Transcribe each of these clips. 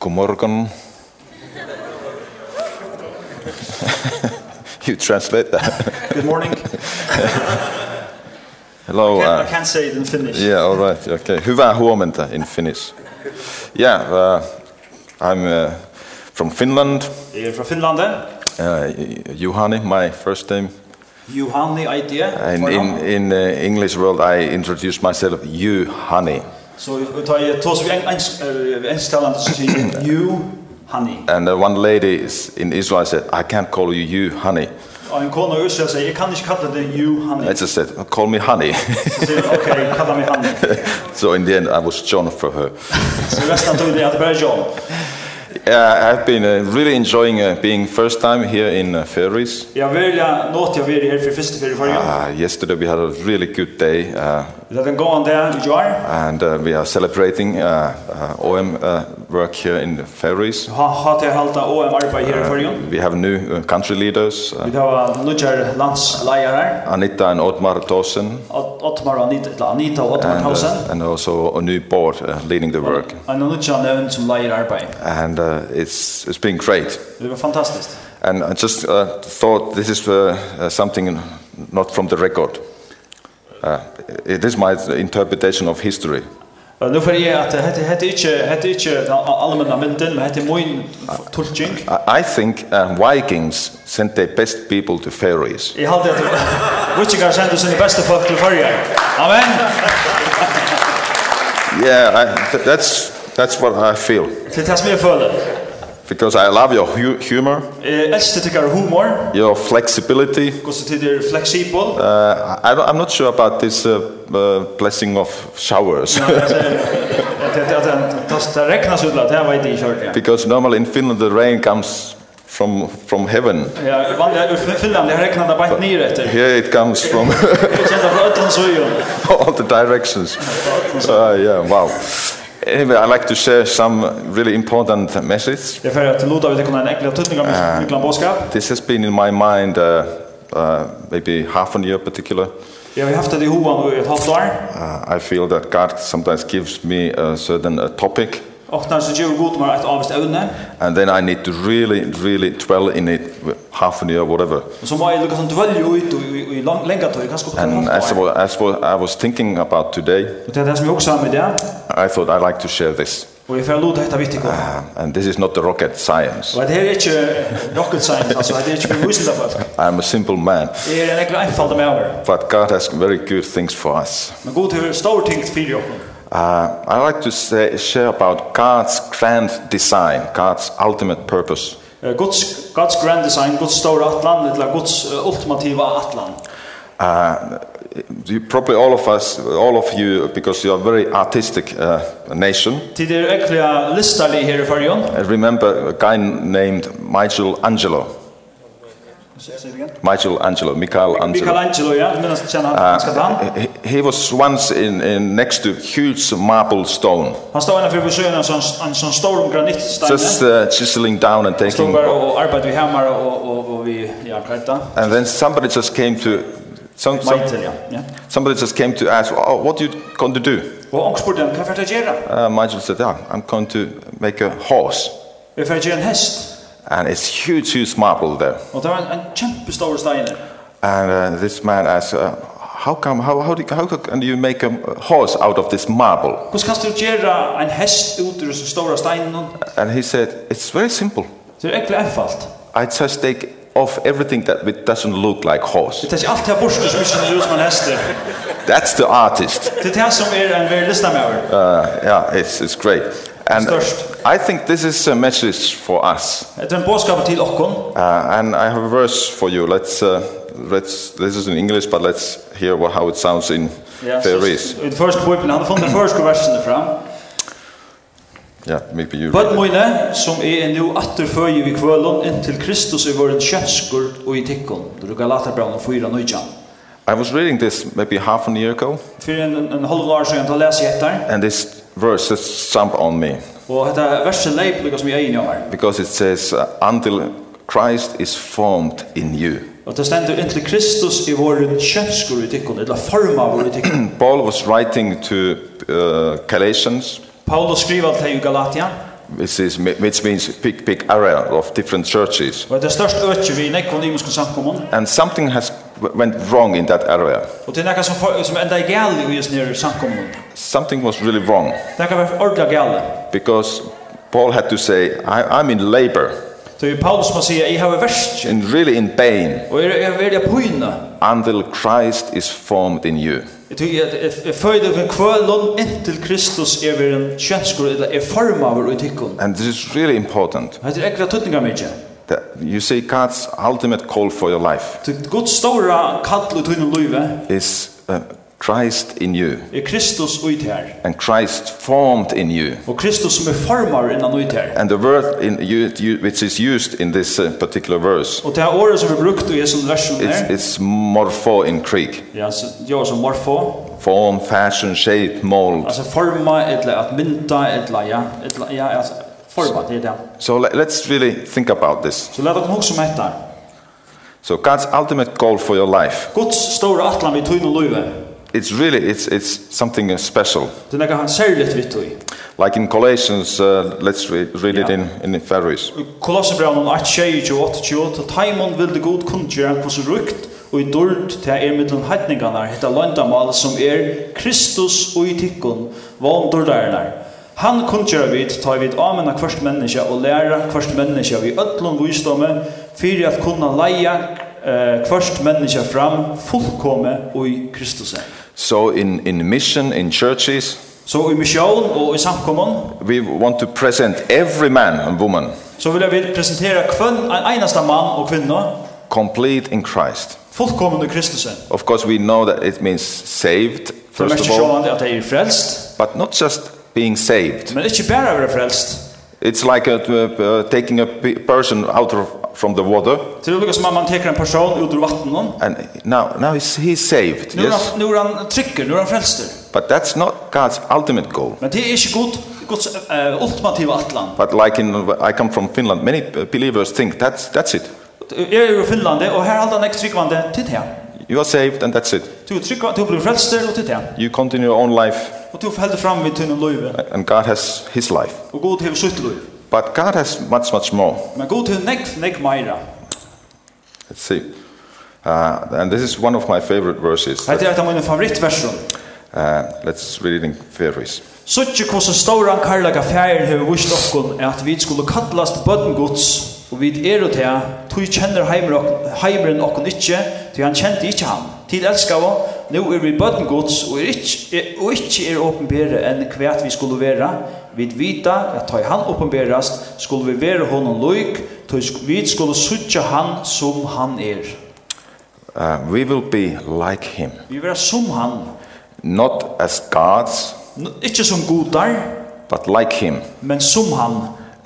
God morgon. you translate that. Good morning. Hello. I Uh, can't say it in Finnish. yeah, all right. Okay. Hyvää huomenta in Finnish. Yeah, uh, I'm uh, from Finland. You're from Finland eh? then? Uh, Juhani, my first name. Juhani idea. And in in uh, English world I introduce myself Juhani. Så vi tar ju tos vi ensktalande eh, så säger Juhani. And uh, one lady is in Israel said, I can't call you Juhani. Och en kona i Israel säger, jag kan inte kalla dig I Juhani. just said, call me Honey. Så säger jag, okej, kalla mig Hanni. so in the end I was John for her. Så resten tog det att det bara är John. Uh, I've been uh, really enjoying uh, being first time here in uh, Ferries. Jag väljer något jag vill här för första för förra gången. Uh, yesterday we had a really good day uh, Det är en gående där i Jar. and uh, we are celebrating uh, uh, OM uh, work here in the Ferries. Ha ha till halta och en arbete här i förra gången. We have new uh, country leaders, uh, Vi tar nutjar landslejer. Anita and Otmar Thorsen, Ottmar och Anita, Anita och Ottmar and, Tausen. uh, and also a new board uh, leading the work. Han har nutjan nevnt er som leier arbeid. And uh, it's, it's been great. Det var fantastiskt. And I just uh, thought this is uh, uh, something not from the record. Uh, it is my interpretation of history. Uh, Nu får jag att det heter inte heter inte den allmänna mynden, men er heter min tolkning. I, I think uh, Vikings sent their best people to ferries. Jag hade att Witchigar sände sina bästa folk till förra. Amen. Yeah, I, th- that's, that's what I feel. Till det som jag följer. Because I love your hu- humor, Eh, Äldste tycker humor, your flexibility. går så till det flexibel. Uh, I, I'm not sure about this uh, uh, blessing of showers. Eh, Att det räknas ut att det här var inte i kört. ja. because normally in Finland the rain comes from, from heaven. Ja, vanliga ur Finland, jag räknade bara ner efter. Here it comes from... Jag kände från ödlan så ju. all the directions. Uh, yeah, wow. Anyway, I'd like to share some really important message. Jag får att låta vi kunna en enkel tolkning av min min boskap. This has been in my mind uh, uh, maybe half an year particular. Jag har haft det i hovan i ett halvt år. Uh, I feel that God sometimes gives me a certain uh, topic Och när så gör god med ett avst ävne. and then I need to really, really dwell in it with half an year, whatever. Och så må jag lyckas dvälja ut och i- i lång länga tid, kanske upp till And ett as, I halvt år. wa- as wa- I was thinking about today, Och det är det som jag också har med det. I thought I'd like to share this. Och jag får låta detta viktigt. Uh, and this is not the rocket science. Och det här är inte rocket science, alltså det är inte för vuxna folk. I'm a simple man, Det är en enkel enfald med över. but God has very good things for us. Men god hur stor ting för jag. Uh, I like to say, share about God's grand design, God's ultimate purpose. Eh, Guds, Guds grand design, Guds stora atlan, eller Guds eh, ultimativa atlan. Uh, you, probably all of us, all of you, because you are a very artistic uh, nation. Tid är äckliga listarlig här i färgen. I remember a guy named Michelangelo. Michelangelo, Michelangelo. Michelangelo, ja, men jag känner han, ska han. He, he was once in, in next to huge marble stone, Han står innanför besöken en sån, en sån stor granitstein. just uh, chiseling down and Stod taking. bara och arbetade vid hammar och, och, och vi ja, er klätta. And then somebody just came to, some, some, Maitel, ja. ja. somebody just came to ask, oh, what you going to do? Och hon spurte han, vad får jag göra? Uh, Michael said, yeah, I'm going to make a horse. Vi får göra en häst. And it's huge, huge marble there. Och det var en, en kämpestor stein. And uh, this man asked, uh, how come, how, how, do, how can you make a horse out of this marble? Hur kan du göra en häst ut ur den stora steinen? And he said, it's very simple. Det är äckligt enfalt. I just take off everything that it doesn't look like horse. Det är er allt här bort som inte ser ut som en häst. That's the artist. Det är det som är en väldigt lyssna med över. Uh, yeah, it's, it's great. And Störst. I think this is a message for us. Det är en bådskap till Ockon. Uh, and I have a verse for you. Let's, uh, let's, this is in English, but let's hear what, how it sounds in yeah, Faroese. I första bibeln, han har funnit den första versen fram. Yeah, maybe you read Bøtt mine, som er nu atterføye vi kvølon, inntil Kristus er våren kjønskord og i tikkon. Du galater brann og fyra nøytjan. I was reading this maybe half an year ago, Fyrir en, en halv år siden, da leser jeg etter. and this verse just jumped on me Og dette verset leip, lukka som jeg er inne om her. because it says, uh, Until Christ is formed in you. Og det stender inntil Kristus er våren kjønskord i tikkon, eller forma vår i tikkon. Paul was writing to uh, Galatians, Paulus skriver til i Galatia, which, is, which means big, big area of different churches. Og det er størst økje vi i nekvån i muskene samkommun. And something has went wrong in that area. Og det er nekka som, for- som enda er gale i just nere samkommun. Something was really wrong Det kan være ordentlig gale. because Paul had to say, I, I'm in labor, Så er Paulus må sige, jeg har verst, in really in pain, og jeg er veldig pøyne. until Christ is formed in you. Jeg tykker at jeg- jeg føyde ved kvølun inntil Kristus er ved en kjønnskur, eller er formaver i tikkun. And this is really important. Det er ekkert tøtninga mykje. That you see, God's ultimate call for your life Til Guds stora kall i tøyne løyve is uh, Christ in you, er Kristus ut her. and Christ formed in you. Og Kristus som er formar innan ut her. And the word in you, you, which is used in this uh, particular verse, Og det er året som vi brukt i Jesu versen it's, her, it's morpho in Greek. ja, så jo som morfo, Form, fashion, shape, mold. altså forma, eller at mynta, eller ja, eller, ja, altså, forma, det er det. So let, let's really think about this. Så let dere um huske om dette. So God's ultimate goal for your life, Guds stora atlan vi tøyne løyve, it's really, it's, it's something uh, special. det er nekka han særligt vi tøy. Like in Colossians, uh, let's re read it in, in Pharisees. Kolossebrevnen 8, 28, 28, til Taimon vil det god kundgjøre hvordan rukt og i dård til er mellom heitningene hette landamal som er Kristus og i tikkun, vann dårdærene. Han kundgjør vid, tar vid amena kvart menneske og læra kvart menneske vid ødlom visdomme, fyrir at kunna leia eh, kvart menneske fram fullkomme og i Kristus. So in, in mission, in churches, Så i misjon og i samkommun, we want to present every man and woman så vil jeg vil presentere kvann, en eneste mann og kvinne, complete in Christ. fullkommen i Kristus. Of course, we know that it means saved, Det er first mest of all, sjående at jeg er frelst, but not just being saved. men ikke bare å være frelst. It's like uh, uh, taking a pe- person out of, from the water, Til det lukkar som at man teker en person ut ur vattnet. and now, now he's, he's saved, Nu er yes? han, nu er han trykker, nu er han frelster. But that's not God's ultimate goal. Men det er ikke god, Guds uh, ultimative atlan. But like in, I come from Finland, many believers think that's, that's it. Jeg er jo i Finland, og her halda han ikke tryggvande til det. You are saved and that's it. Du er tryggvande, du blir frelster og til det. You continue your own life Og du helder fram vid tunne løyve, and God has his life. og god hever sutt løyve. But God has much, much more. Men god hever nekv, nekv meira. Let's see. Uh, and this is one of my favorite verses. Hette er et av mine favorittversjon. Uh, let's read it in Ferris. Suttje hvordan stóran karlaga færin hefur vist okkun er at vi skulle kallast bøtten gods, og vi er og til, tog kjenner heimer ok- heimeren okkun ikkje, tog han kjente ikkje han. Tid elskava, nu er vi bøtten gods, og, er ikkje, er- og ikkje er åpenbere enn kvært vi skulle vera. Vi vita at tog han åpenberast, skulle vi vera honom loik, tog sk- vi skulle suttje han som han er. Uh, we will be like him, Vi vera som han, not as gods, N- ikkje som godar, but like him. men som han.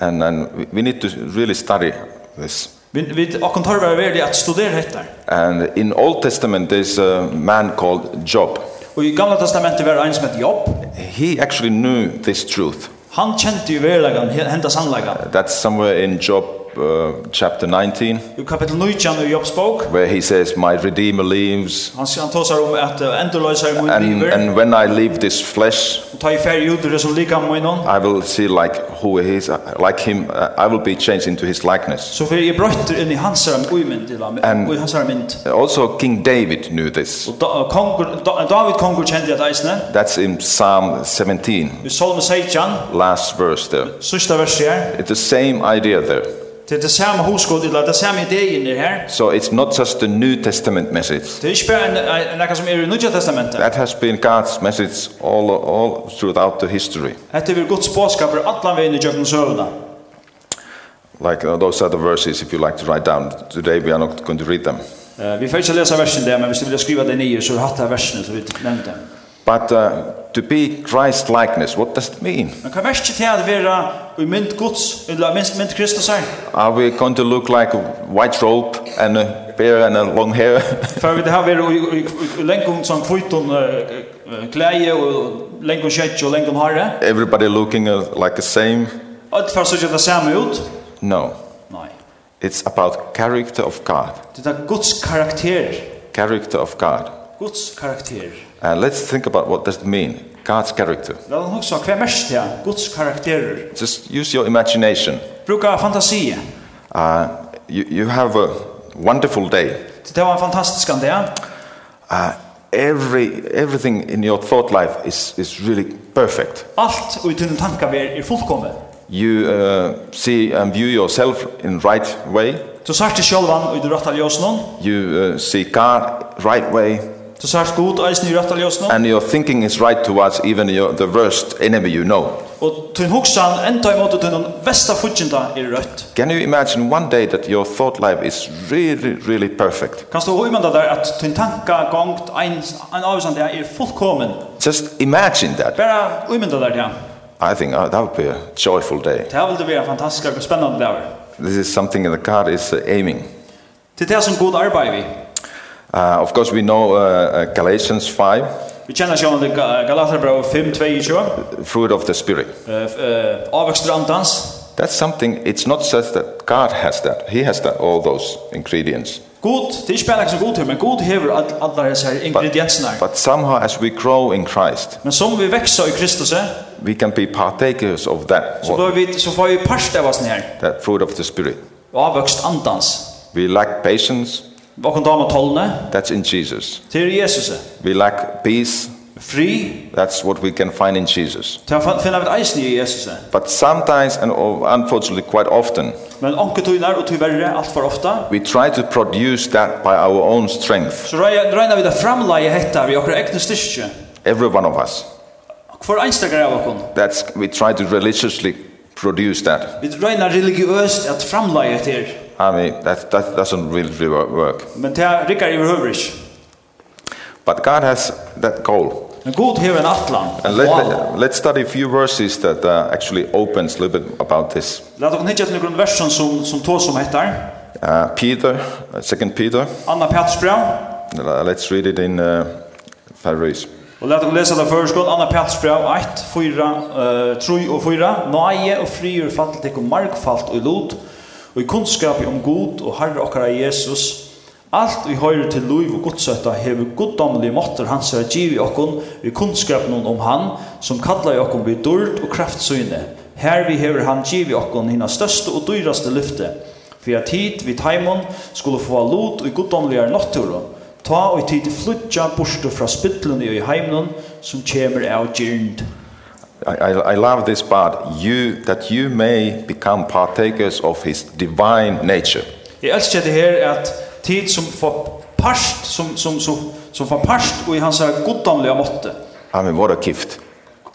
And, and we- we need to really study this. Vi, vi, okkun tar vera verdi at studera hettar. And in Old Testament, there's a man called Job. Og i gamla testamentet var ein som hette Jobb. He actually knew this truth. Han kjente jo verlegan, henta sannlegan. That's somewhere in Job uh, chapter 19, I kapitel 19 i Jobbs bok, where he says, My Redeemer lives, han, han tåsar om at uh, endurløysar i mun and, liver, and when I leave this flesh, og ta i færg ut det som lika munnen, I will see like who he is, uh, like him, uh, I will be changed into his likeness. så fyrir jeg brøtter inn i hans herre uimynd, And- og i hans herre mynd. Also, King David knew this. Og da, eh, kongur, da, David kongur kjente at eisne, That's in Psalm 17, i Solme 16, last verse there. sørsta verset her, It's the same idea there. til det samme hoskod, eller det samme ideen er her, So it's not just the New Testament message. det er ikke bare en- en- en ekka som er i Nudja testamentet. That has been God's message all, all throughout the history. Hette vil er Guds bådskaper allan vegin i jøkken søvna. Like uh, those other verses, if you like to write down. Today we are not going to read them. Eh, Vi får ikke lese versen der, men hvis du vil skrive det nye, så har du hatt det versen som vi nevnte. But uh, to be Christ likeness, what does it mean? Men hva verset til at være i mynd Guds, eller mynd, mynd Kristus er? her? Are we going to look like a white robe and a beard and a long hair? For vi det her være i, i, i, i lengkong som kviton klæje, og lengkong kjøtt og lengkong harre. Everybody looking uh, like the same? Alt for så ikke det samme ut. No. Nei. It's about character of God. Det er Guds karakter. Character of God. Guds karakter. And let's think Uh, about what does it mean. God's character. Lat oss hugsa hver mest her, Guds karakterer. Just use your imagination. Bruka fantasi. Uh, you, you have a wonderful day. Så Det var en fantastisk dag. Uh, every, everything in your thought life is, is really perfect. Alt og i tunne tankar ver er fullkommen. You uh, see and view yourself in right way. Så sagt til sjálvan og i det rætta ljósnum, You uh, see God right way. så sagt god eisen i rætta ljósnum, And your thinking is right towards even your, the worst enemy you know. og tunn hugsan enda i måte tunn vesta fudginda er rødt. Can you imagine one day that your thought life is really, really perfect? Kanst du hugmynda der at tunn tanka gongt ein, ein avvisan dag er fullkommen. Just imagine that. Bara hugmynda der det. I think uh, that would be a joyful day. Det her vil det være fantastisk og spennende dag. This is something that God is uh, aiming. Til det som god arbeid vi. Uh, of course, we know uh, uh, Galatians 5, Vi kjenner sjån til Ga- Galaterbrev 5, 22, uh, fruit of the Spirit. uh, avvekster andans. That's something, it's not just that God has that. He has that, all those ingredients. God, det er ikke bare som god her, men god hever all- allar hessar ingrediensene. But somehow, as we grow in Christ, Men som vi växer i Kristus, eh, så we can be partakers of that, what, blir vi så får vi parst av oss här. that fruit of the Spirit. Avväxt andans. We lack patience, Vad kan dama tolne? that's in Jesus. Till Jesus. We lack peace, Fri. that's what we can find in Jesus. Till att finna vid eisen i Jesus. But sometimes, and unfortunately quite often, Men onke tøynar og tyverre allt for ofta. we try to produce that by our own strength, Så røy- røyna vi det framleie hetta vi okra egne styrke. every one of us. Hvor einstakar er av okon. That's, we try to religiously produce that. Vi røyna religiøst at framleie etter. I mean, that, that doesn't really wor- work. Men det rikkar i overhøvrig. But God has that goal. Men god hever en atlan. And let, let's study a few verses that uh, actually opens a little bit about this. Lad okon hitja til nokon versen som, som tås som hettar. Uh, Peter, uh, Second Peter, Anna Petersbrev. uh, let's read it in uh, Faroese. Og let oss lesa det først, skål, Anna Peters brev 1, 4, eh, 3 og 4. Nøye og frigjør fall til ekkum markfalt og lot, og i kunnskap om god og herre okkara Jesus. Alt vi høyrer til lov og godsøtta hever goddomlig måtter hans er giv i okkon, i kunnskap noen om han, som kallar i okkon vid dård og kraftsyne. Her vi hever han giv i okkon hina største og dyraste lyfte, for at hit vi taimon skulle få lot og goddomligare nåtturon, Ta og tid til flutja borstu fra spytlunni og i heimnun som kjemur av gyrnd. I, I, I love this part. You that you may become partakers of His divine nature. Jeg elsker det her at tid som får parst, som, som, som, som får parst og i hans her goddomlega måtte. I mean, what a gift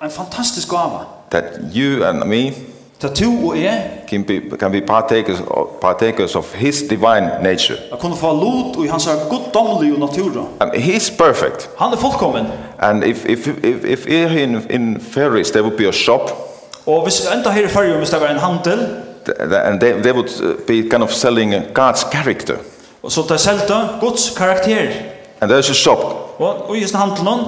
En fantastisk gava. that you and me Ta to og jeg can be can be partakers of, partakers of His divine nature. at kunne få lot og i hans her goddomlega natura. I mean, Um, he's perfect, Han er fullkommen. and if if if, if here in in Paris there would be a shop, Og hvis enda her i fargjum, hvis det var en handel, th- th- and they they would uh, be kind of selling uh, God's character, og så det selta, Guds karakter. and there's a shop Og, og i hans handelen,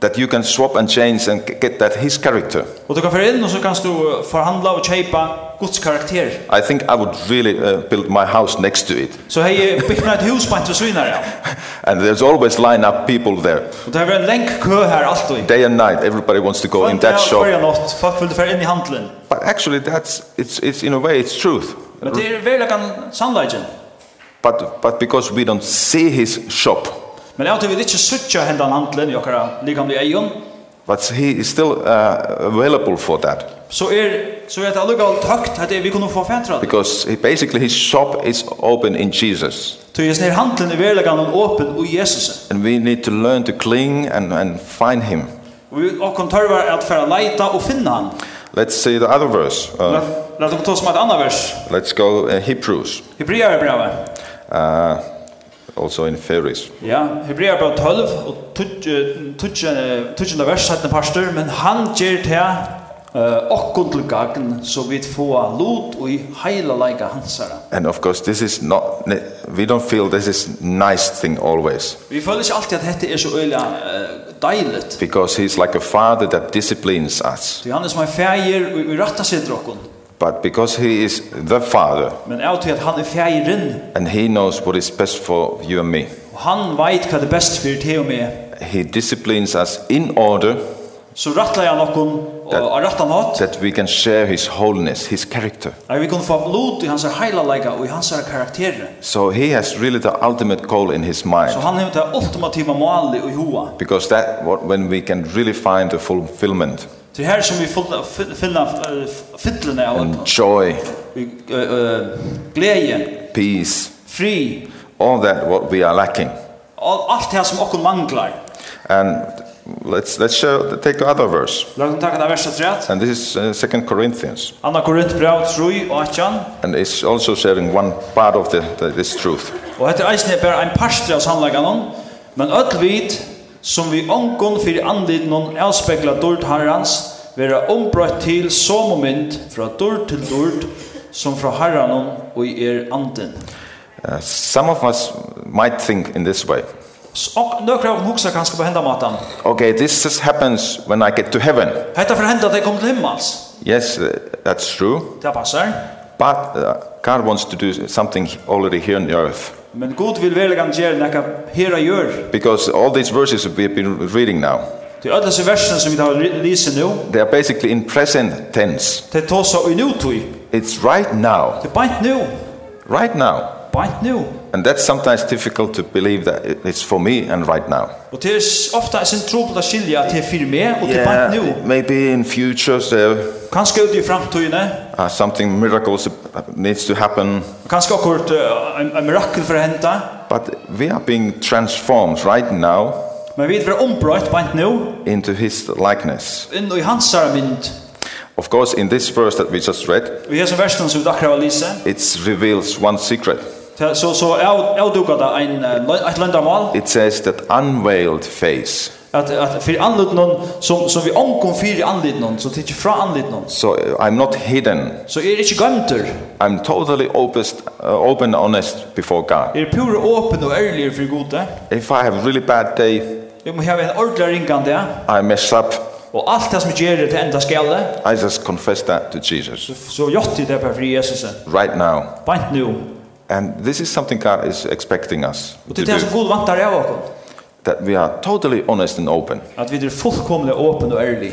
that you can swap and change and g- get that His character. og du kan fyrir inn og så kan du eh, forhandla og kjeipa Guds karakter. I think I would really uh, build my house next to it. Så hei jeg bygna et hus på en til svinar, ja. And there's always line up people there, Og det har vært en lenk kø her alltid. day and night. Everybody wants to go in that shop. Hver natt, folk vil fære inn i handelen. But actually, that's it's it's in a way it's truth. Men det er veldig kan sannleggen. But but because we don't see his shop, Men jeg vil ikke suttje hendan handelen i okkara likam i eion, but he is still uh, available for that så er, så er det allukal tøkt at vi kunne få fætra det. because he, basically hhis shop is open in Jesus, Så er snir handelen i veldig kan åpen og Jesus. and we need to learn to cling and and find him. Og vi okkon tørvar at færa leita og finna han. Let's see the other verse. Uh, Lad oss ta som et annet um vers. let's go uh, Hebrews, Hebrear brevet. uh, also in Pharisees. Ja, Hebrear brevet 12, og tutjende vers, 17. pastor, men han gjer til uh, okkon til gagn, så vi få lot og i heila leika hansara. And of course, this is not. We don't feel this is nice thing always. Vi føler ikke alltid at dette er så øyla uh, deiligt. because he's like a father that disciplines us. Så han er som en fægir og i ratta sitter okkon. But because he is the father Men av til at han er fægirin, and he knows what is best for you and me, og han veit hva det er best fyrir til og med. he disciplines us in order så rattla han okkum That- og rattan hatt. that we can share his wholeness, his character. At vi kunne få blod i hans heilalega og i hans karakterer. So he has really the ultimate goal in his mind. Så han hevur det ultimativa målet og hoa. Because that, what, when we can really find the fulfillment Det er her som vi fulla- fi- finna eh, f- fyllene av and joy, eh, eh, gleði, peace, fri, all that what we are lacking. all- alt det som okkum manglar. And let's, let's show, take the other verse. Lagt um taka ta verset rætt. And this is uh, 2 Corinthians. Anna Korint brev 3 og 18. And it's also sharing one part of the, the, this truth. Og hetta eisini er bara ein partur av sannleikanum, men öll vit som vi ongun fyrir andlitnum avspekla dult Herrans, vera ombrøtt til som mynd fra dult til dult, som fra Herranum og i er anden. Uh, some of us might think in this way S- Og nøkra av hugsa kanskje på henda matan. okay, this just happens when I get to heaven. Hetta fer henda at dei kom til himmels. Yes, uh, that's true. Det passar. But uh, God wants to do something already here on the earth. Men Gud vil velgan gjere nekka hera gjør. Because all these verses we have been reading now, Det er öll þessi versen som vi tar lise nu, they are basically in present tense. det er tåsa i nutui. It's right now. Det er bænt nu, Right now. bænt nu. And that's sometimes difficult to believe that it- it's for me and right now. Og det er s- ofta en sin trobel at skilja at det er fyrir meg og det er bant nu. maybe in future there Kanskje ut i framtøyene, are something miracles that needs to happen. kanskje akkurat uh, en, en mirakel for å henta, But we are being transformed right now men vi er ombrøyt bant nu, into His likeness. inn i hans herre mynd. Of course, in this verse that we just read, Og i hese versen som vi akkurat var lise, it reveals one secret. så, så, så avduka det ein, eh, lø- et landamal, It says that unveiled face. at, at fyrir anlit noen, som, som vi omkom fyrir anlit noen, som tidsir fra anlit noen, So uh, I'm not hidden. så er ikke gøymter, I'm totally open, uh, open, honest before God. er pure åpen og ærlig fyrir gode, If I have a really bad day, vi må heve en ordentlig ringande, I mess up. og allt det som vi gjør til enda skjelle, I just confess that to Jesus så gjort i det bare fri Jesus. right now. Bant nu. And this is something God is expecting us Og det to er det som do. Gud vantar av oss. That we are totally honest and open. At vi er fullkomlig åpen og ærlig.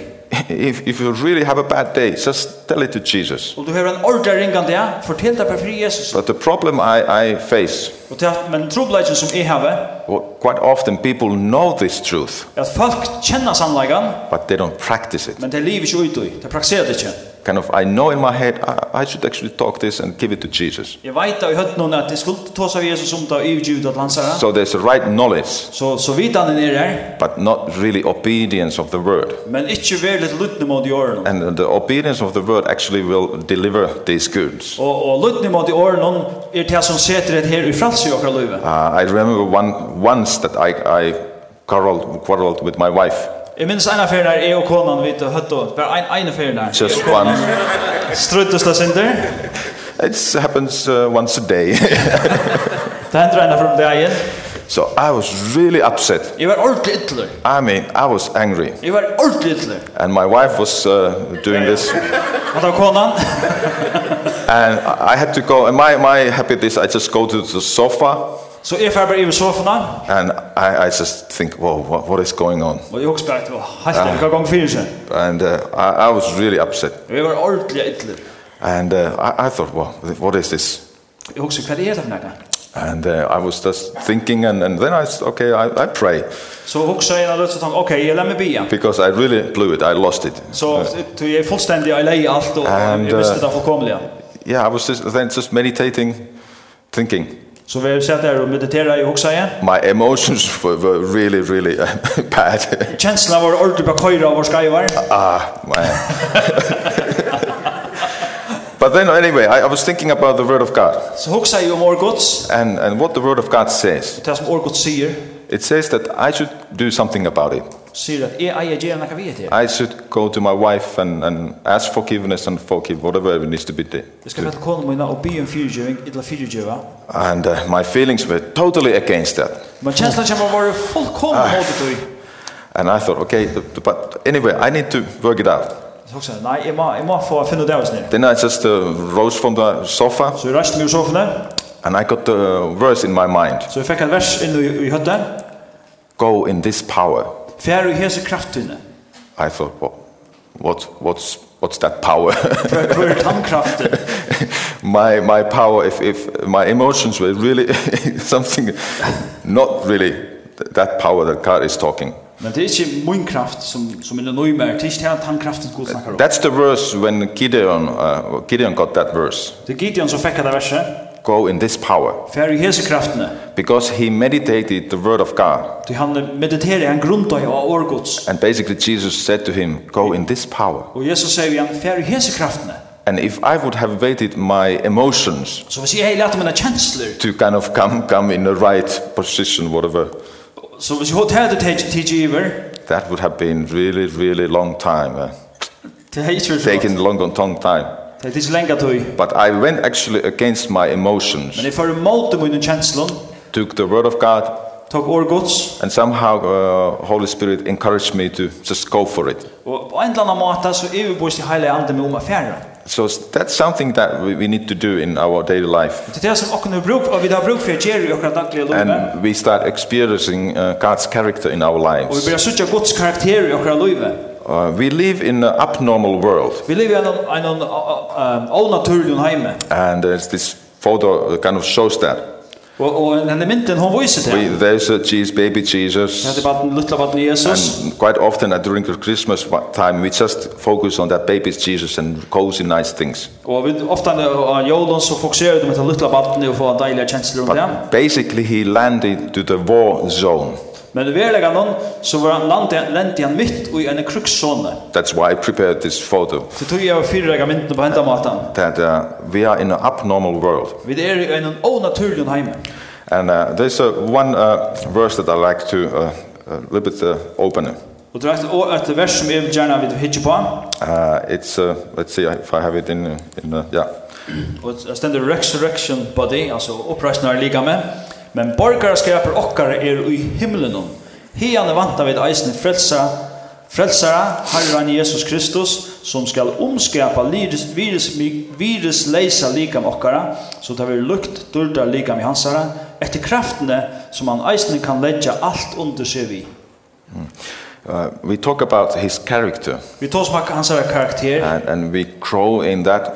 If, if you really have a bad day, just tell it to Jesus. Og du har en ordre ringan det, fortell det bare fri Jesus. But the problem I, I face, Og til, men trobladjen som jeg har, well, quite often people know this truth, er at folk kjenner sannleggen, but they don't practice it. men det er livet ikke ut i. Det prakserer det ikke. Kind of, I know in my head, I, I should actually talk this and give it to Jesus. Jeg vet at jeg hørte noen at jeg skulle ta seg av Jesus som det er utgivet at lansere. So there's a right knowledge, Så, så vidt han er her, but not really obedience of the word. men ikke være litt lyttende mot i årene. And the obedience of the word actually will deliver these goods. Og, og lyttende mot i årene er det som setter det her i frelse i åkere livet. Uh, I remember one, once that I, I quarreled, quarreled with my wife. Jeg minns ena ferien der jeg og konan vidt og høtt og bare en, ene ferien der. Just one. Struttes det synder. It happens uh, once a day. Det hender ena fra dagen. so I was really upset. Jeg um var ordentlig ytler. I mean, I was angry. Jeg var ordentlig ytler. And my wife was uh, doing this. Hatt av konan. And I I had to go. And my, my habit is I just go to the sofa Så jeg fer bare i sofana. and I, I just think, whoa, what, what is going on? Og jeg husker bare til å halte Ah." en gang fyrir seg. And uh, I, I was really upset. Og jeg var ordentlig ytler. And uh, I, I thought, well, what is this? Jeg husker hva det er det for nekka. And uh, I was just thinking, and, and then I said, okay, I, I pray. Så husker jeg en av løtt og tann, ok, jeg lemmer bia. Because I really blew it. I lost it. Så så jeg er fullstendig, jeg leier alt, og And, jeg visste uh, det fullkomlige. Yeah, I was just, then just meditating, thinking. Så vi har sett her og mediterer, jeg husker jeg. my emotions were, were really, really uh, bad. Kjenslene var ordentlig på køyre av vår skaivar. Ah, man. but then, anyway, I, I was thinking about the Word of God Så husker jeg om årgods. and, and what the Word of God says. Det som Orgot sier, It says that I should do something about it. sier at jeg eier gjerne hva vi er til. I should go to my wife and, and ask forgiveness and forgive whatever needs to be done. Jeg skal vette konen mine og be om fyrtjøving, eller fyrtjøva. And uh, my feelings were totally against that. Men kjenslen kommer å være fullkomlig mot det. And I thought, okay, th- th- but anyway, I need to work it out. Så også, nei, jeg må, jeg må få finne det av oss nere. Then I just uh, rose from the sofa Så jeg reiste meg i sofene, and I got the verse in my mind. så jeg fikk et vers inn i, i høttet. go in this power. Fjær og hese kraftene. I thought, well, what, what's, what's that power? Hver hver tankraften. my, my power, if, if my emotions were really something, not really th- that power that God is talking. Men det er ikke min kraft som, som er nøy mer. Det er ikke det tankraften god snakker om. That's the verse when Gideon, uh, Gideon got that verse. Det er Gideon som fikk det verset. Go in this power. Fær i hese kraftene. Because he meditated the word of God. Ty han mediterer han grundar av orgods. And basically Jesus said to him, go in this power. Og Jesus sier vi han, fær i hese kraftene. And if I would have waited my emotions Så hvis jeg lærte mine kjensler, to kind of come, come in the right position, whatever, så hvis jeg hatt her til TGiver, that would have been really, really long time. Uh, det er ikke så godt. taken long and long time. Det er ikke lenge tøy. But I went actually against my emotions, Men jeg får imot mine kjenslene, took the word of God, tok orgods, and somehow uh, Holy Spirit encouraged me to just go for it. og på en eller annen måte så er vi bort til hele andre med om affæra. So s- that's something that we, we need to do in our daily life. Det er det som åkken har bruk, og vi har bruk for å gjøre i åkken daglige løyve. And we start experiencing uh, God's character in our Og vi lives. blir suttje gods karakter i åkken løyve. Uh, we live in an abnormal world. Vi lever i en, en, en, en onaturlig heime. And there's this photo that kind of shows that. Og, og denne mynten, hun viser det. We, there's a Jesus, baby Ja, det Jesus. var den er lilla var Jesus. And quite often uh, during the Christmas wa- time, we just focus on that baby Jesus and cozy nice things. Og vi ofta av Jolon så um fokuserer de med det lilla barnet og får deilige kjensler om det. But basically, he landed to the war zone. Men i verlegan så var han landet lent han mitt i en krukssone. That's why I prepared this photo. Så tog jeg og fyrrega mynden på henda matan. That uh, we are in an abnormal world, Vi er i en onaturlig heime. and uh, there's uh, one uh, verse that I like to uh, a little bit uh, open. it. Og det er et- og et vers som jeg vil gjerne vil hitje på. Uh, it's uh, let's see if I have it in uh, in uh, yeah. Og det stender resurrection body, altså oppreisnar liga med. Men borgarskaper okkar er i himmelen om. Hian er vant av et eisen frelsa, frelsara, Herren Jesus Kristus, som skal omskapa virus, virus, virus leisa liga med okkara, så tar vi lukt dulda liga med hansara, etter kraftene som han eisen kan leggja alt under seg vi. Uh, we talk about his character, Vi tar som hansara karakter, and, and we grow in that.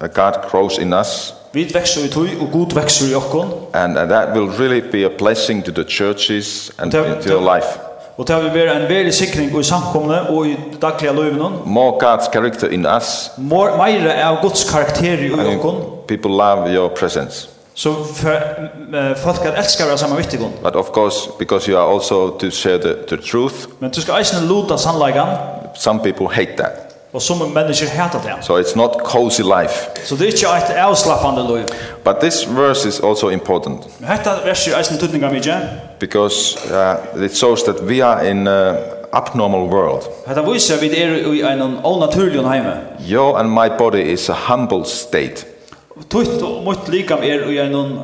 Uh, God grows in us, vi vekser i tog, og god vekser i okkon, and, and that will really be a blessing to the churches and Tell- to your tell- life. og det vil være en veldig sikring i samkomne og i daglige løyvnån, More God's character in us Mor meira av Guds karakter i I mean, okon, people love your presence. så for, m- eh, folk kan elska vera saman vitt ikon. But of course, because you are also to share the, the truth, Men du skal eisne luta sannleikan, some people hate that. og som mennesker hata det. So it's not cozy life. Så det er ikkje eit avslappande liv. But this verse is also important Men hetta vers er eisne tutninga mykje. because uh, it shows that we are in an abnormal world. Hetta viser at vi er i ein onaturlig heime. Your and my body is a humble state. Tutt og mot likam er i ein um,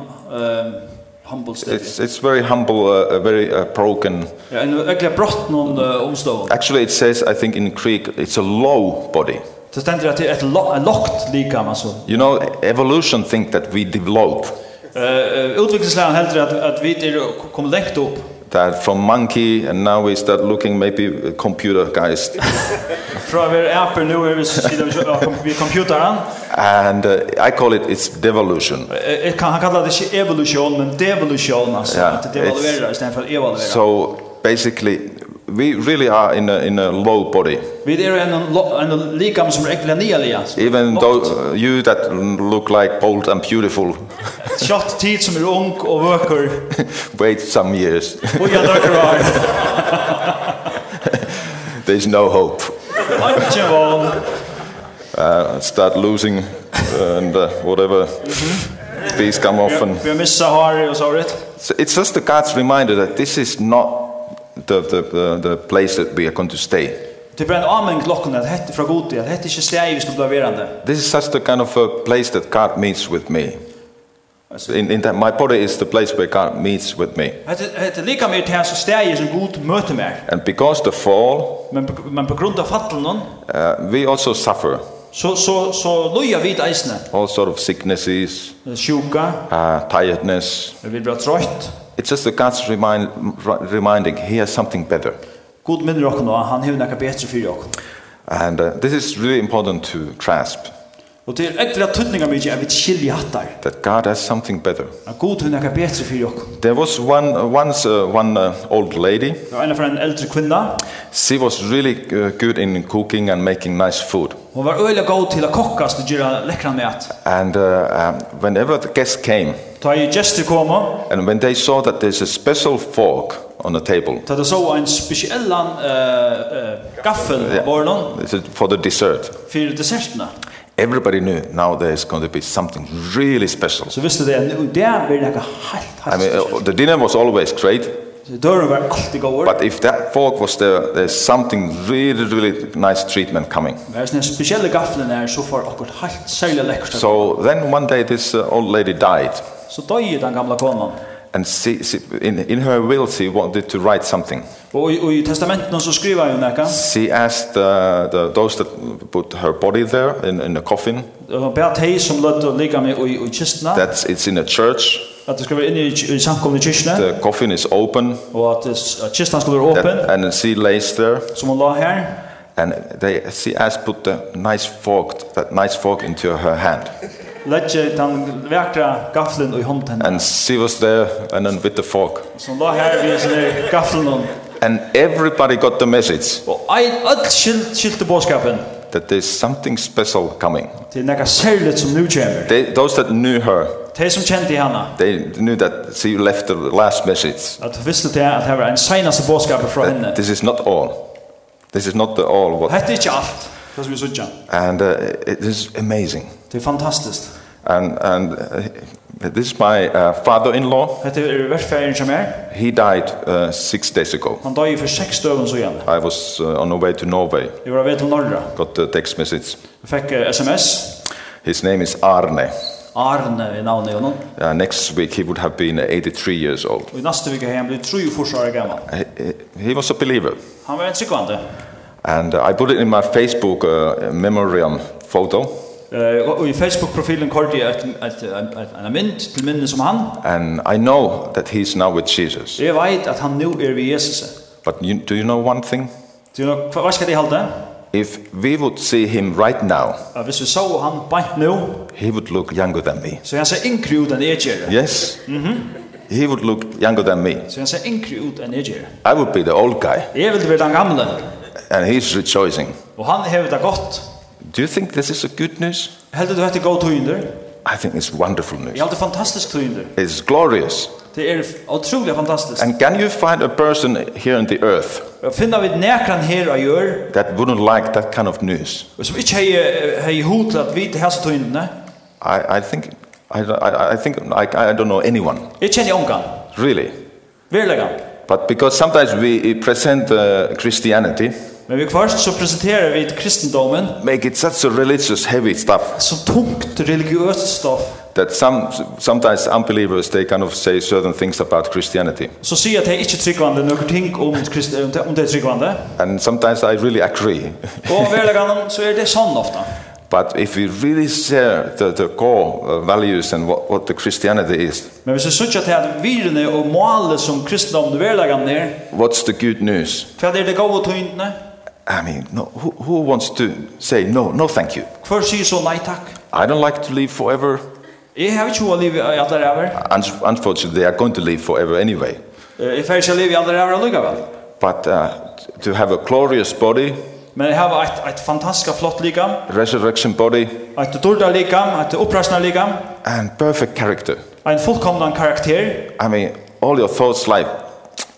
humble state. It's, it's very humble, uh, uh, very uh, broken. Ja, ein økla brott noen uh, omstånd. Actually, it says, I think in Greek, it's a low body. Det stender at det er eit lo ein lokt likam, altså. You know, evolution think that we develop, Uh, Utviklingslæren heldur at, at vi er kom lengt opp. that from monkey, and now we start looking maybe uh, computer guys Fra vi er apper nu er vi sitter vi ja, kom- vid computeren. And uh, I call it it's devolution. Eh, eh, kan han kallar det ikke evolution men devolution alltså Ja, att devaluera istället för att evaluera. So basically, we really are in a, in a low body. Vi är en lo- en likam som är äckliga nya lias. Even though uh, you that look like bold and beautiful, Shot tid som är er ung och vöker wait some years. och jag drar av. There's no hope. Antje van Uh, start losing uh, and uh, whatever. These come off. And vi har missat Harry och så rätt. so it's just the God's reminder that this is not the, the, the, the place that we are going to stay. Typ en er amen klockan att hette från god till att hette inte stäj vi ska bli verande. This is just the kind of a place that God meets with me. Alltså In, in that my body is the place where God meets with me. hette hette lika mer till så stäj som god möter mig. And because the fall, Men på- men på grund av fallen någon uh, we also suffer så så så loja vid isne. all sort of sicknesses, Sjuka, uh, tiredness. Vi blir trött. It's just that God's remind, r- reminding He has something better. God minner okken og han hevur nekka betre fyrir okken. And uh, this is really important to grasp Og til ektra tøtninga mykje er vi skilja hattar. that God has something better. At God hevur nekka betre fyrir okken. There was one uh, once uh, one uh, old lady. Det var en fra en eldre kvinna. She was really uh, good in cooking and making nice food. Hon var øyla god til å kokkast og gjøre lekkran mat. And uh, um, whenever the guests came, Ta i gestur koma, and when they saw that there's a special fork on the table ta det så ein spesiellan uh, uh, gaffel på bornon this is for the dessert, fyrir dessertene. everybody knew now there's going to be something really special. Så visste det, nu der blir nekka heilt, I mean, heilt uh, spesielt. the dinner was always great, Så Døren var alltid god. but if that fork was there, there's something really, really nice treatment coming. Men det er sånne spesielle gaffelen her, så får akkur heilt særlig lekkert. Så, So then one day this uh, old lady died, så døg den gamla konan. and she, she, in, in her will she wanted to write something. Og, i- og i testamenten så skriver hun nekka, She asked uh, the, those that put her body there in, in a coffin, og bæt hei som lødde å ligga med i, i kistene, that's, it's in a church, at det skal være inne i, i samkomne kyrkene, the coffin is open, og at, det- at kisten skal være åpen, that, and she lays there, som hun la her. and they, she asked put the nice fork, that nice fork into her hand. Ledje den vekra gaffelen i hånden henne. And she was there, and then with the fork. Så hun la her ved sånne gaffelen hon. And everybody got the message Og ein öll skilt, skilte bådskapen that there's something special coming. til nekka særligt som nu kommer. They, those that knew her, De som kjente henne, they knew that she left the last message. at hun visste til at det var en senaste bådskapen fra henne. That this is not all. This is not the all. What, Hetta er ikki alt. Det som vi søkja. and uh, it is amazing. Det er fantastiskt. And, and uh, this is my uh, father-in-law. Hetta er verferðin sum er. He died uh, six days ago. Han døi for 6 døgum síðan. I was uh, on the way to Norway. Eg var veit til Norra. Got the text message. Eg fekk eh, SMS. His name is Arne. Arne er navnet honum. Uh, next week he would have been 83 years old. Og í næstu vika hevði hann blivit 3 ára gamal. He, he- he was a believer. Hann var ein tryggvandi. And uh, I put it in my Facebook uh, memoriam photo. Eh og í er Facebook profilen kaldi eg at ein mynd til minni sum hann. And I know that he's now with Jesus. Eg veit at hann nú er við Jesus. But you, do you know one thing? Du nok hva hva skal dei halda? If we would see him right now, At viss vi sá hann bænt nú, he would look younger than me. so hann ser yngri út enn eg geri. Yes? He would look younger than me. So hann ser yngri út enn eg geri. I would be the old guy. Eg vildi vera den gamle. And he's rejoicing. Og hann hevur tað gott. Do you think this is a good news? Heldur du hetta er góð tøyndur? I think it's wonderful Jeg news. har alltid fantastisk tøynder. It's glorious. Det er utrolig fantastisk. And can you find a person here on the earth Og finna vi nekran her og gjør, that wouldn't like that kind of news? og som ikke hei, hei hod eh, til at vite hese tøyndene, I, I think I, I, I think I, I don't know anyone jeg kjenner omgang, really. verlega. But because sometimes we present uh, Christianity, Men vi kvarst så presenterer vi kristendomen make it such a religious heavy stuff som tungt religiøst stoff. that some sometimes unbelievers they kind of say certain things about Christianity. Så sier jeg at er jeg ikke tryggvande noen ting om, krist, om, det, om det er tryggvande. And sometimes I really agree. Og verlega så er det sånn ofta. But if we really share the, the core uh, values and what, what the Christianity is, Men hvis vi sutja til at virene og målet som kristendomen verlega er, what's the good news? hva er det gode tøyndene? I mean, no, who, who wants to say no, no, thank you? Hver sier så nei takk? I don't like to live forever. Jeg har ikke hva livet i alle ræver. Un- Unfortunately, they are going to live forever anyway. Eh, Jeg får ikke liv i alle rævra lykkevel. But uh, to have a glorious body, Men jeg har et, et fantastisk flott likam, resurrection body, et dårlig likam, et opprasende likam, and perfect character. en fullkomnan karakter, I mean, all your thoughts, life,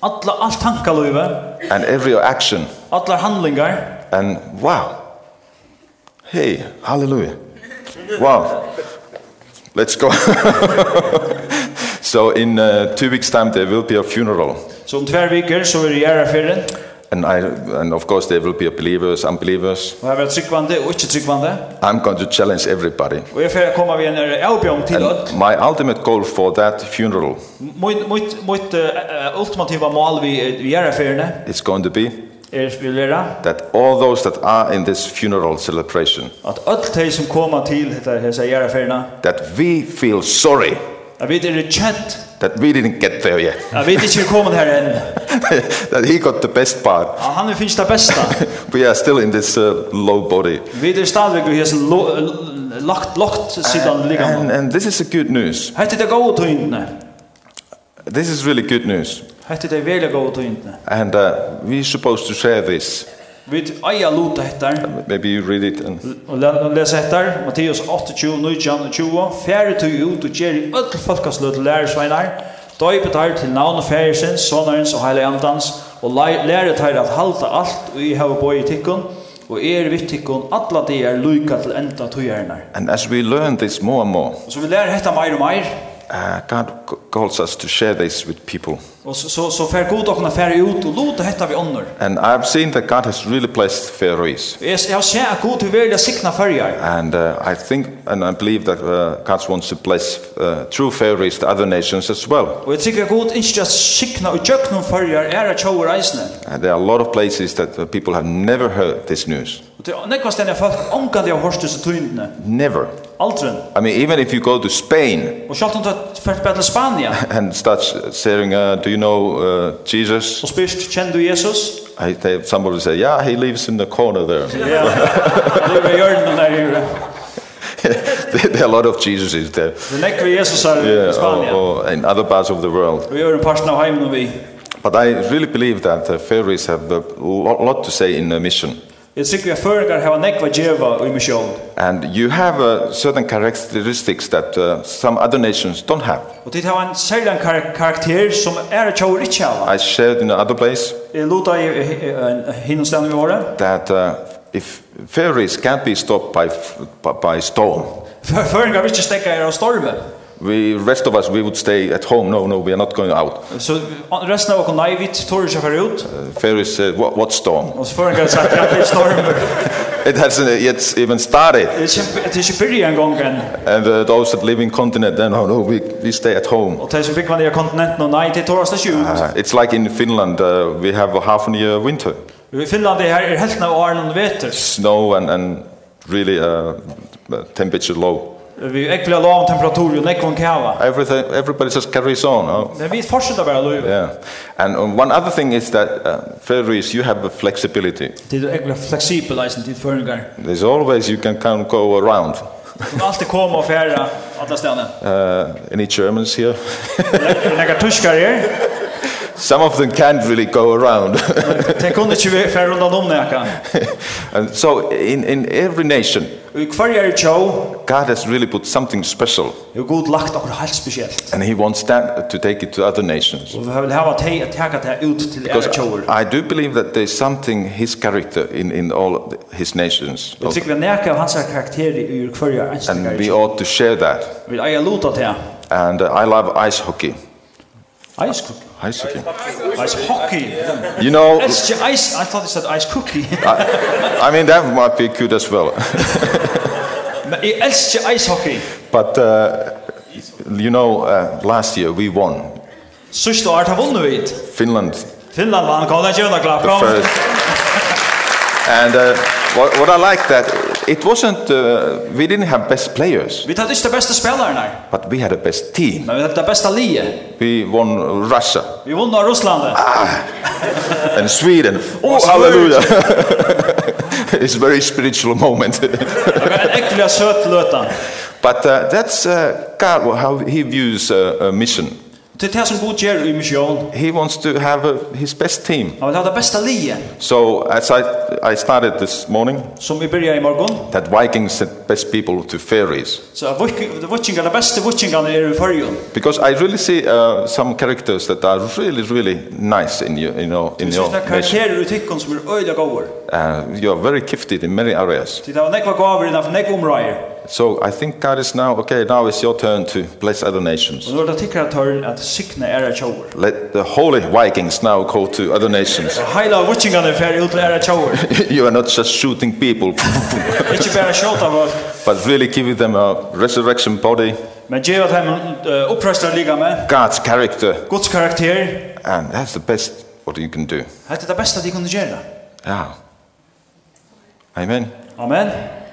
alla, all tankaløyve, and every your action. alla handlingar, And wow. Hey, hallelujah. Wow. Let's go. so, in uh, two weeks' time, there will be a funeral. så om tver viker så er jeg her fyrir, And, I, and of course, there will be believers, unbelievers. og jeg vil tryggvande og ikke tryggvande, I'm going to challenge everybody. og jeg får komme ved en avbjørn til ødel. And my ultimate goal for that funeral Mitt, mitt, mitt uh, ultimativa mål vi, vi gjør her fyrir is going to be er vil være that all those that are in this funeral celebration, at öll de som kommer til dette her gjør her fyrir, that we feel sorry At vi er kjent, that we didn't get there yet. at vi ikke er kommet her enn. that he got the best part. Ja, Han er finnes det beste. We are still in this uh, low body. Vi er stadigvæk i hessen lo- l- lagt, lagt siden And, liggende. and this is a good news. Hette det gode tøyndene. This is really good news. Hette det veldig gode tøyndene. And uh, we're supposed to share this. Vi eier lot etter, Maybe you read it. And og le- les etter, Matteus 28, 19, 20. Fære tøy ut og gjør i ødel folkeslød til lærersveinar, døype tøy til navn og færesens, sonarens og heilig andans, og læ- lære tøy at halta alt og i hava bøy i tikkun, og er vitt tikkun, atla de er lyka til enda tøyernar. and as we learn this more and more, Og så vi lærer hetta meir og meir, uh, God c- calls us to share this with people. og så, så, så fær god okna fære ut og lota hetta vi ånder. And I've seen that God has really blessed Faroese. Jeg, jeg ser at god til velja sikna fyrjar. And uh, I think and I believe that uh, God wants to bless uh, true Faroese to other nations as well. Og jeg tykker at god ikke at sikna og tjøknum fyrjar er at tjauer eisne. And Uh, there are a lot of places that uh, people have never heard this news. Og til nekva stendig folk omgandi av horstus og tøyndene. Never. Aldrin. I mean, even if you go to Spain Og sjalt om det fyrir bare til Spania and start saying, uh, Do you know uh, Jesus? og spyrst kjenn du Jesus? I, they, somebody say, Yeah, he lives in the corner there. Ja. Det er hjørnen der i there are a lot of Jesuses there. Det nekva Jesus er i or, Spania. or in other parts of the world. Og gjør en parsten av heimen og vi. But I really believe that the Faroese have a lot, lot to say in the mission. Jeg tykker at føringar hava nekva djeva og i misjon. And you have uh, certain characteristics that uh, some other nations don't have. Og dit hava en særlig kar karakter som er at tjauer ikke hava. I shared in another place Jeg luta i hinnom stedet vi året. that uh, if Faroese can't be stopped by, f- by, by storm, Føringar vil ikke stekka her av stormen. we rest of us we would stay at home. No, no, we are not going out. Så resten av oss nei, vi tårer ikke fer ut. Uh, Faroese said, "What, what storm? Og så føringar sagt, ja, det er stormer. It hasn't uh, yet even started." Det er ikke- det er ikke byrja en gang enn. And uh, those that live in continent, then oh, no, no, we, we stay at home. Og de som fikk man i kontinenten, og nei, det tårast ikke ut. Uh, it's like in Finland, uh, we have a half an year winter, I Finland er her er helten av åren og veter. snow and, and really uh, uh, temperature low. Vi er ekvile lav temperatur og nekvån kava. Everything, everybody just carries on. Oh? Men vi fortsetter bare løyve. Yeah. And uh, one other thing is that uh, Faroese, you have a flexibility. Det er ekvile fleksibel eisen til føringar. There's always, you can kind of go around. Som alltid koma og færa alle stedene. Uh, any Germans here? Vi nekkar tuskar her. Some of them can't really go around. De kunne ikke færa rundan um om nekka. and so in, in every nation, Og i hver er tjå, God has really put something special er god lagt okkur helt spesielt. and he wants that to take it to other nations. Og vi vil hava teg at teka det ut til Because ære tjåur. I do believe that there's something his character in, in all of the- his nations. Vi tykker vi nekka av hans karakter i hver er And enstigar. we ought to share that. Vi eier luta til. And uh, I love ice hockey. Ice cookie. Ice hockey. Ice hockey. You know, It's ju- ice. I thought it said ice cookie. I, I mean, that might be cute as well. Men i elski ice hockey. But, uh, you know, uh, last year we won. Sust og Arta vunnu við. Finland, Finland vann góða jörna klapp. the first. And uh, what, what I like that it wasn't, uh, we didn't have best players, Við tað ikki besta spelaren her, but we had a best team. men við tað besta liði. We won Russia Við vunnu av Russlandi. and Sweden. Oh, Sweden. hallelujah. it's a very spiritual moment. Det var en ekkelig søt løta. but uh, that's uh, God, how he views uh, a mission. Til det som god gjør i misjon. He wants to have uh, his best team. Han vil ha det beste liði So as I, I started this morning, som vi byrja i morgun. that Vikings sent best people to ferries. Så vutchingar, de beste vutchingarna er i fyrjun. Because I really see uh, some characters that are really, really nice in your, you know, in Vi your synes det nation. er karakterer i tykkun som er øyla góður. Uh, you're very gifted in many areas. Til det var nekva gaver innan nekva umrægir. So I think God is now, okay, now it's your turn to bless other nations. Og nå er det tikkara tørn at sikna er a tjóur. Let the holy Vikings now go to other nations. Heila vutchingarna fer ut til er a tjóur. you are not just shooting people, Ikke bare skjolta folk, but really giving them a resurrection body, men djeva dem uh, opprøstar liga med. God's character, Guds karakter, and that's the best what you can do. dette er det beste de kunne gjøre. Yeah. Amen. Amen.